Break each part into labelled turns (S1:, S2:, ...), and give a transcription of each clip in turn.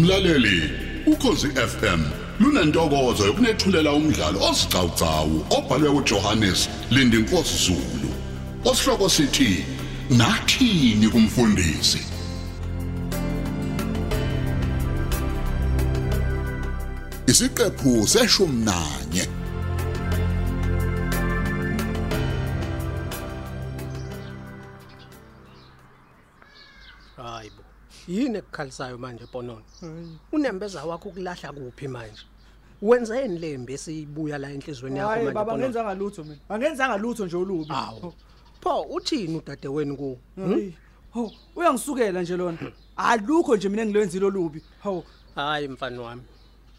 S1: Mlaleli, ukhosi FM lunantokozo yokunethulela umdlalo osiqhawqhawo obhalwe uJohannes Lindinkosi Zulu. Osihloko sithi nathini kumfundisi? Isiqephu seshumi nanye.
S2: hayi bo yini ekukhalisayo manje ponono unembeza wakho ukulahla kuphi manje wenzeni le mbe esiyibuya la enhlizweni yakho
S3: hayi
S2: manje
S3: baba
S2: ponono
S3: ngenzanga lutho mina angenzanga lutho nje olubi
S2: awu pho uthini udade wenu ku
S3: Hayi. ho uyangisukela nje lona alukho nje mina engilwenzile olubi ho
S2: hayi mfana wami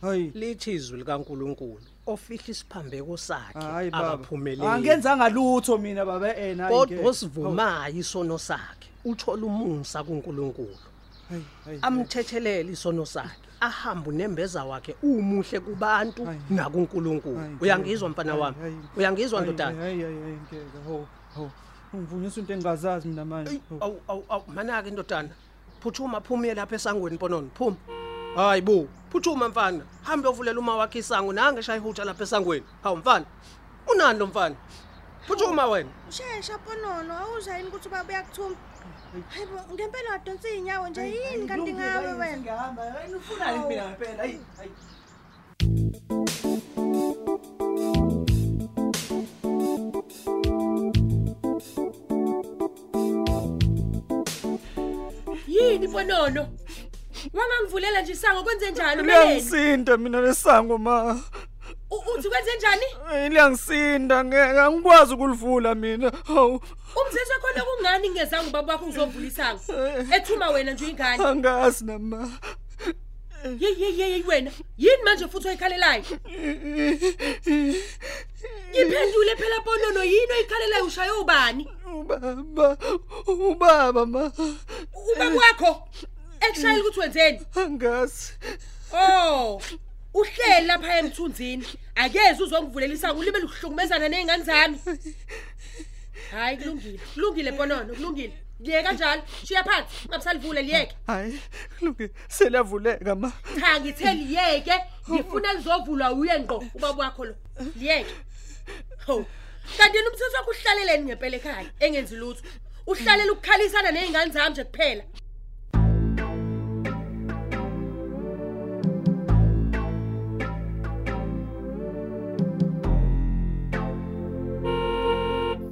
S3: hayi
S2: lithi izwi likaNkuluNkulu ofihla isiphambeko sakhe
S3: hayi baba
S2: akaphumeleli
S3: angenzanga lutho mina baba eh, ena
S2: kodwa osivumayo isono sakhe uthola umusa kuNkuluNkulu amthethelele isono sakhe ahambe nembeza wakhe umuhle kubantu
S3: Hayi.
S2: nakuNkuluNkulu uyangizwa mfana wami uyangizwa ndodana
S3: ayingeke ho ho ungivunyisa into engazazi mina manje
S2: Eyi,
S3: ho.
S2: awu awu awu manaka indodana phuthuma phumile lapha esangweni mponono phuma hayi bo phuthuma mfana hambe ovulela uma wakhe isango nange shaya ihutsha lapha esangweni hawu mfana unani lo mfana phuthuma wena
S4: Shesha Ponono, awuzwa yini ukuthi ubaba uyakuthuma? Hayibo, ngempela wadonsa izinyawo nje yini kanti ngawe wena?
S3: wena ufuna yini mina ngempela hayi hayi
S5: yini mponono wangangivulela nje isango kwenze njani umeleni
S3: liyangisinda mina lesango ma
S5: U- uthi kwenze njani
S3: Eh, liyangisinda ngeke angikwazi ukulivula mina hawu
S5: umzizwe khona kungani ngezanga ubaba wakho ngizovula isango ethuma wena nje ingane
S3: angazi nama
S5: yeyeyeyeyi wena yini manje futhi oyikhalelayo ngiphendule phela mponono yini oyikhalelayo ushaye ubani
S3: ubaba ubaba ma
S5: U- ubaba wakho ekushayela ukuthi wenzeni
S3: angazi
S5: oh uhleli lapha emthunzini akeze uzongivulela isango libe luhlukumezana nezingane zami hayi kulungile kulungile bonono kulungile liye kanjalo shiya phansi ungabusalivule liyeke
S3: hayi lunge seliyavuleka ma
S5: cha ngithe liyeke ngifuna lizovulwa uye ngqo ubaba wakho lo liyeke ho kanti yena umthetho wakho uhlaleleni ngempela ekhaya engenzi lutho uhlalela ukukhalisana nezingane zami nje kuphela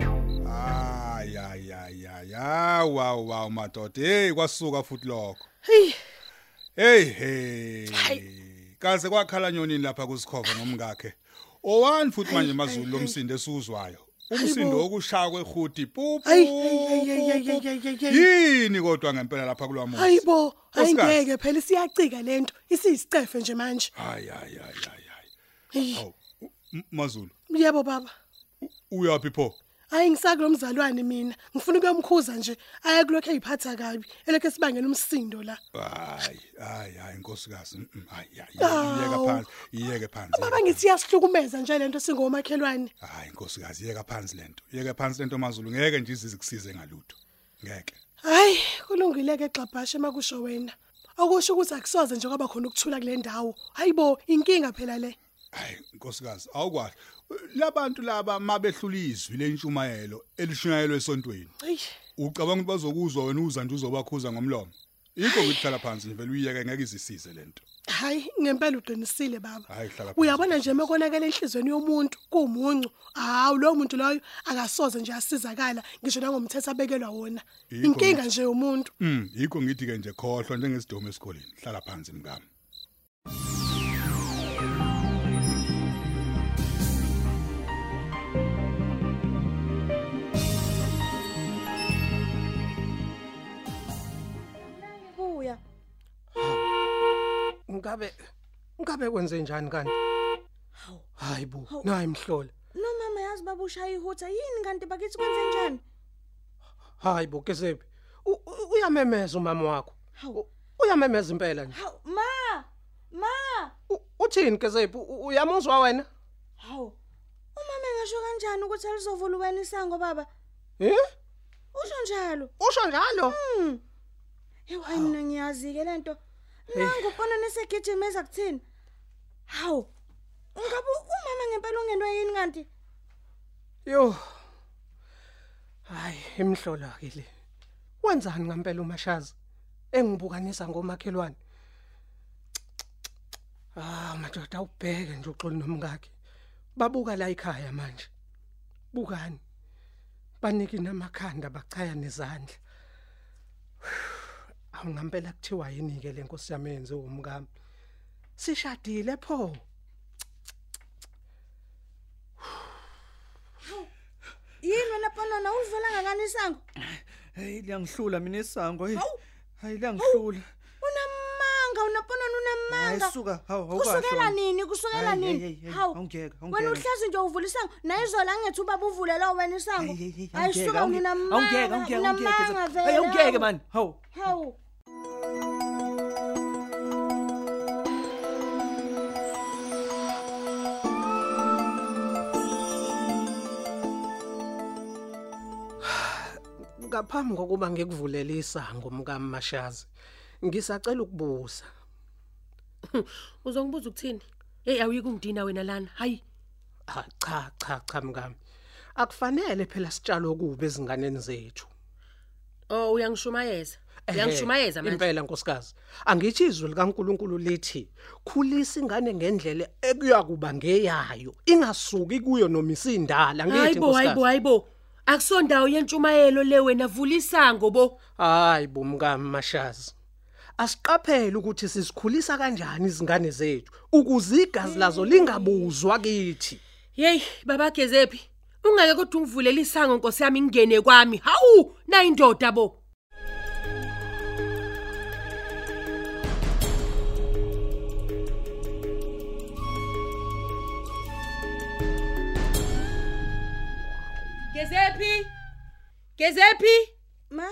S6: Ay ay ay ay ay wow wow madoda hey kwasuka futhi lokho hey hey kaze kwakhala nyoni lapha kusikhova nomngakhe owani futhi manje mazulu lomsindo esuzwayo umsindo wokushaya kwehudi pupu
S7: Hayi, hayi, hayi, hayi, hayi, hayi, hayi, hayi.
S6: yini kodwa ngempela lapha kulwamuzi
S7: Hayibo,
S6: Nkosikazi.
S7: ayingeke phela siyacika lento. Isisicefe nje manje.
S6: ay ay ay ay ay
S7: Hey,
S6: aw M- mazulu
S7: Yebo baba.
S6: uyapi pho
S7: Hayi ngisakulomzalwane mina. Ngifuna ukuyomkhuza nje aye kulokho eziphatha kabi. Elokho sibangela umsindo la.
S6: ay ay ay inkosikazi mm, mm, ay ay
S7: Aw.
S6: iyeka phansi iyeke phansi
S7: Baba ngithi siyasihlukumeza nje lento singomakhelwane.
S6: Hayi nkosikazi yeka phansi lento. Yeka phansi lento mazulu ngeke nje izikusize ngalutho. Ngeke.
S7: Hayi, kulungile ke xabhashe makusho wena. Akusho ukuthi akusoze nje kwaba khona ukuthula kule ndawo. Hayibo, inkinga phela le.
S6: Hayi nkosikazi awukwahle. Labantu laba mabehlula izwi lentshumayelo elishunyayelwe esontweni.
S7: Hayi.
S6: Ucabanga ukuthi bazokuzwa wena uza nje uzobakhuza ngomlomo. Yikho ngikuhlala phansi nje vele uyiyeke ngeke izisize lento.
S7: Hayi, ngempela uqinisile baba.
S6: Hayi hlala phansi.
S7: uyabona nje mekonakela enhlizweni yomuntu kuumuncu hawu lowo muntu loyo akasoze nje asizakala ngisho nangomthetho abekelwa wona
S6: Yikho
S7: inkinga
S6: ngithi.
S7: nje yomuntu
S6: Mm, yikho ngithi ke nje khohlwa njengesidomo esikoleni. Hlala phansi mkami.
S4: Buya.
S2: ngabe ngabe kwenze njani kanti hayi bo nayi mhlola
S4: No mama yazi baba ushaya ihutha yini kanti bakithi kwenze njani?
S2: hayi bo kesephi U- u- uyamemeza umama wakho
S4: Hawu.
S2: U- uyamemeza impela nje
S4: Haw ma! Ma!
S2: U- uthini kesephi U- uyamuzwa wena
S4: Haw. Umama ngisho kanjani ukuthi alizovula wena isango baba?
S2: eh
S4: Usho njalo.
S2: usho njalo
S4: Yebo ayina ngiyazi ke lento. nangu ubona nesegijima eza kuthini hawu ngabe umama ngempela ungenwe yini kanti
S2: Yo. Hayi, imhlola ke le. Wenzani ngempela uMashaza? Engibukanisa ngomakhelwane. Ah, madoda awubheke nje uxolo nomkakhe. Babuka la ekhaya manje. Bukani. Baniki namakhanda bachaya nezandla. Awungempela kuthiwa yini ke le nkosi yami yenze umkami. Sishadile pho.
S4: yini wena ponona ulivela ngakani isango
S3: Hey liyangihlula mina isango. hey.
S4: Hawu.
S3: Hayi liyangihlula.
S4: unamanga unaponona
S3: Hayi
S4: unamanga
S3: suka, hawu
S4: kusukela nini kusukela
S3: Hayi, hey,
S4: nini
S3: hey, hey, awungiyeke,
S4: wena
S3: awungiyeke.
S4: uhlezi nje uvula isango naye izola angethi ubaba uvule lo wena isango hayi suka
S3: Awungeke, awungeke,
S4: unamanga unamanga
S3: awungeke.
S4: vele
S3: Hey awungeke man. Hawu.
S4: hawu
S2: ngaphambi kokuba ngikuvulele isango mkaMashazi ngisacela ukubuza
S5: Uzongibuza ukuthini? Hey awuyike ungidina wena lana. Hayi.
S2: ah cha cha cha mkami akufanele phela sitshalo kube ezinganeni zethu
S5: Oh uyangishumayeza.
S2: Ehhe,
S5: Uyangishumayeza manje.
S2: impela nkosikazi angithi izwi likaNkuluNkulu lithi khulisa ingane ngendlela ekuyakuba ngeyayo ingasuki kuyo noma isindala ngithi
S5: Hayibo hayibo
S2: nkosikazi
S5: hayibo. Akusondawo yentshumayelo le wena vulisa ngobo.
S2: hayibo mkaMashazi asiqaphele ukuthi sisikhulisa kanjani izingane zethu ukuze igazi lazo lingabuzwa kithi
S5: Hey babageze phi? Ungake kodwa ungivulela isango Nkosi yami ngingene kwami. Hawu, na indoda bo. Gezephi? Gezephi?
S4: ma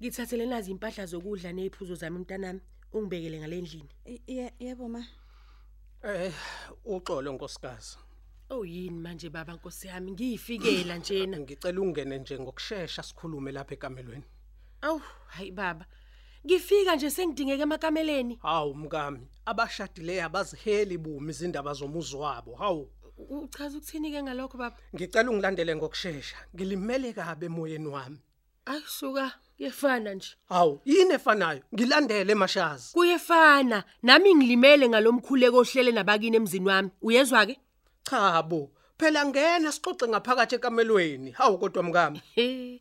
S5: Ngithathele nazi impahla zokudla neziphuzo zami mntanami, ungibekele ngalendlini.
S4: Ye- ye- yebo ma
S2: Eh, uxolo nkosikazi.
S5: Oyini Oh, manje baba Nkosi yami, ngiyifikela njena.
S2: Ngicela ungene nje ngokusheshsha sikhulume lapha ekamelweni.
S5: Awu, hayi baba. Ngifika nje sengidingeka emakameleni.
S2: Hawu mkami, abashadile abaziheli bumi izindaba zomuzi wabo. Hawu,
S5: Uchaza ukuthini ke ngalokho baba?
S2: ngicela ungilandele ngokusheshsha. Ngilimele kabe emoyeni wami.
S5: Ayisuka, kuyefana nje.
S2: Hawu, yini efanayo? Ngilandele emashazi.
S5: Kuyefana. Nami ngilimele ngalomkhuleko ohlele nabakini emzini wami. Uyezwa ke?
S2: Cha bo, phela ngena sixoxe ngaphakathi ekamelweni. Hawu kodwa mkami,
S5: He.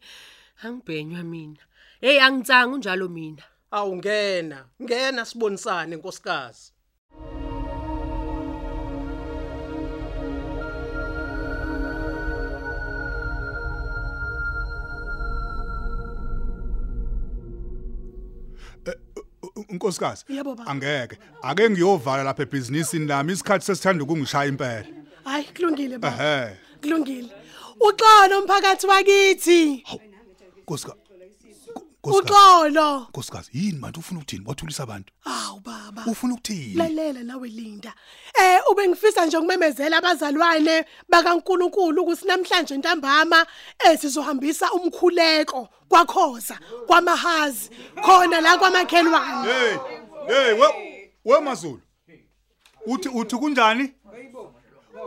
S5: Angibhenywa mina. Hey angitsanga unjalo mina.
S2: hawu ngena, ngena sibonisane nkosikazi.
S6: Eh, Unkosikazi,
S7: Yebo, baba.
S6: angeke. Ake ngiyovala lapha ebusinessini lami isikhathi sesithanda ukungishaya impela.
S7: Hayi kulungile baba.
S6: Ehhe.
S7: Kulungile. Uxolo mphakathi wakithi.
S6: Nkosikazi. Nkosikazi.
S7: Uxolo.
S6: Nkosikazi, yini manje ufuna ukuthini? Wathulisa abantu.
S7: Awu baba.
S6: Ufuna ukuthini?
S7: lalela nawe Linda eh ube ngifisa nje ukumemezela abazalwane bakaNkuluNkulu ukuthi namhlanje ntambama eh sizohambisa umkhuleko kwakhoza kwamahazi khona la kwamakhelwane
S6: Hey, hey, we we Mazulu. Uthi uthi kunjani?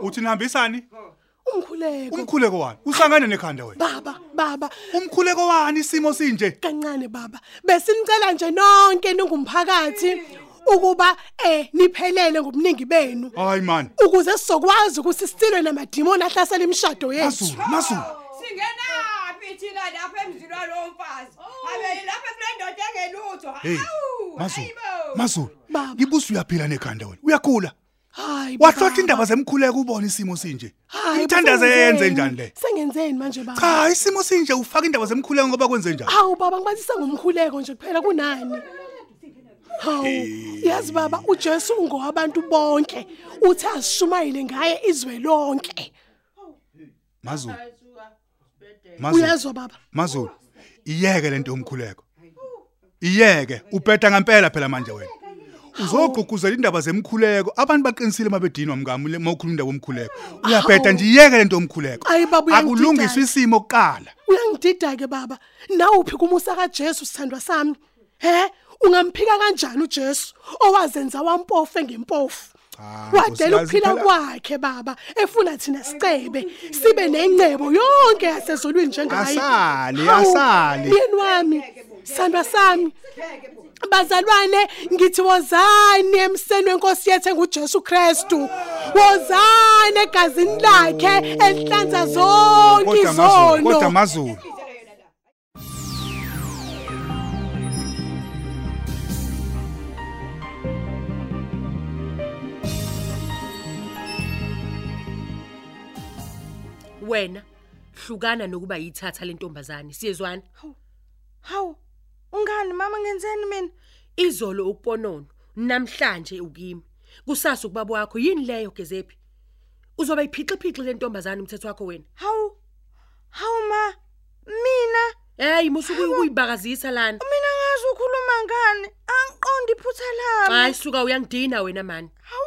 S6: Uthi nihambisani?
S7: umkhuleko
S6: Umkhuleko wani? Usangane nekhanda wena.
S7: baba baba
S6: Umkhuleko wani isimo sinje?
S7: kancane baba besinicela nje nonke ningumphakathi ukuba eh niphelele ngobuningi benu
S6: Hayi man.
S7: ukuze sizokwazi ukuthi sisilwe namadimoni ahlasela imishado yethu
S6: Mazulu, Mazulu.
S8: singenaphi thina lapha emzilwa lo mfazi abe lapha kule ndoda engelutho
S6: Hey.
S8: Hawu,
S6: Mazulu.
S8: hayibo.
S6: Mazulu.
S7: Baba.
S6: Ngibusi uyaphila nekhanda wena. Uyakhula.
S7: hayi
S6: Wahlotha
S7: baba.
S6: indaba zemkhuleko ubone isimo sinje.
S7: Hayi,
S6: Umthandaze
S7: sengenzeni?
S6: yenze njani le?
S7: Sengenzeni manje baba?
S6: Cha, isimo sinje ufaka indaba zemkhuleko ngoba kwenze njani?
S7: Hawu baba ngibathisa ngomkhuleko nje kuphela kunani.
S6: Eh.
S7: Hawu, yazi baba uJesu ungowabantu bonke. Uthi asishumayile ngaye izwe lonke.
S6: Mazulu. Mazulu.
S7: Uyazwa baba?
S6: Mazulu. Iyeke lento yomkhuleko. Iyeke, ubheda ngempela phela manje wena. Uzogqugquzela indaba zemkhuleko, abantu baqinisile mabedinwa mngami le mawukhuluma indaba yomkhuleko. Uyabheda nje iyeke lento yomkhuleko.
S7: Ayi, baba, uyangidida.
S6: Akulungiswa isimo kuqala.
S7: Uyangidida ke baba. Nawuphi kuMusa kaJesu sithandwa sami? He?
S5: ungamphika kanjani uJesu owazenza wampofu ngempofu
S6: Cha,
S5: wadela
S6: Nkosikazi,
S5: ukuphila
S6: phela-
S5: kwakhe baba efuna thina sicebe sibe nencebo yonke yasezulwini njengaye
S6: Asale,
S5: Hawu,
S6: asale.
S5: myeni wami sandwa sami bazalwane ngithi wozani emseni wenkosi yethu enguJesu Kristu wozani egazini lakhe elihlanza zonke
S6: Kodwa amazulu, kodwa
S5: izono
S6: amazulu.
S2: wena hlukana nokuba yithatha lentombazane siyezwana
S4: Hawu, ungani mama ngenzeni mina?
S2: izolo ukuponono namhlanje ukimi kusasa ukubaba wakho yini leyo gezephi uzoba iphixiphixi lentombazane umthetho wakho wena
S4: Hawu. Hawu ma. Mina,
S2: hey musuku ukuyibakazisa lana
S4: mina ngazi ukhuluma ngani? Angiqondi iphutha lami.
S2: hayi suka uyangidina wena mani
S4: Hawu.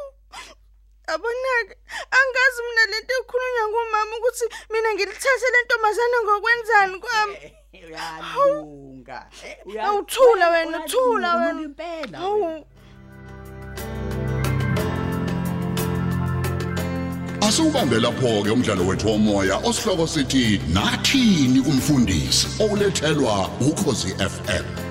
S4: Abonake, angazi mina lento ekhulunywa ngumama ukuthi mina ngilithathe lentombazane ngokwenzani kwami.
S9: Eh, uyalunga Eh,
S4: Awuthula wena, thula wena.
S9: impela
S4: Hawu.
S1: Asubambe lapho ke umdlalo wethu womoya osihloko sithi nathini kumfundisi olethelwa ukhosi FM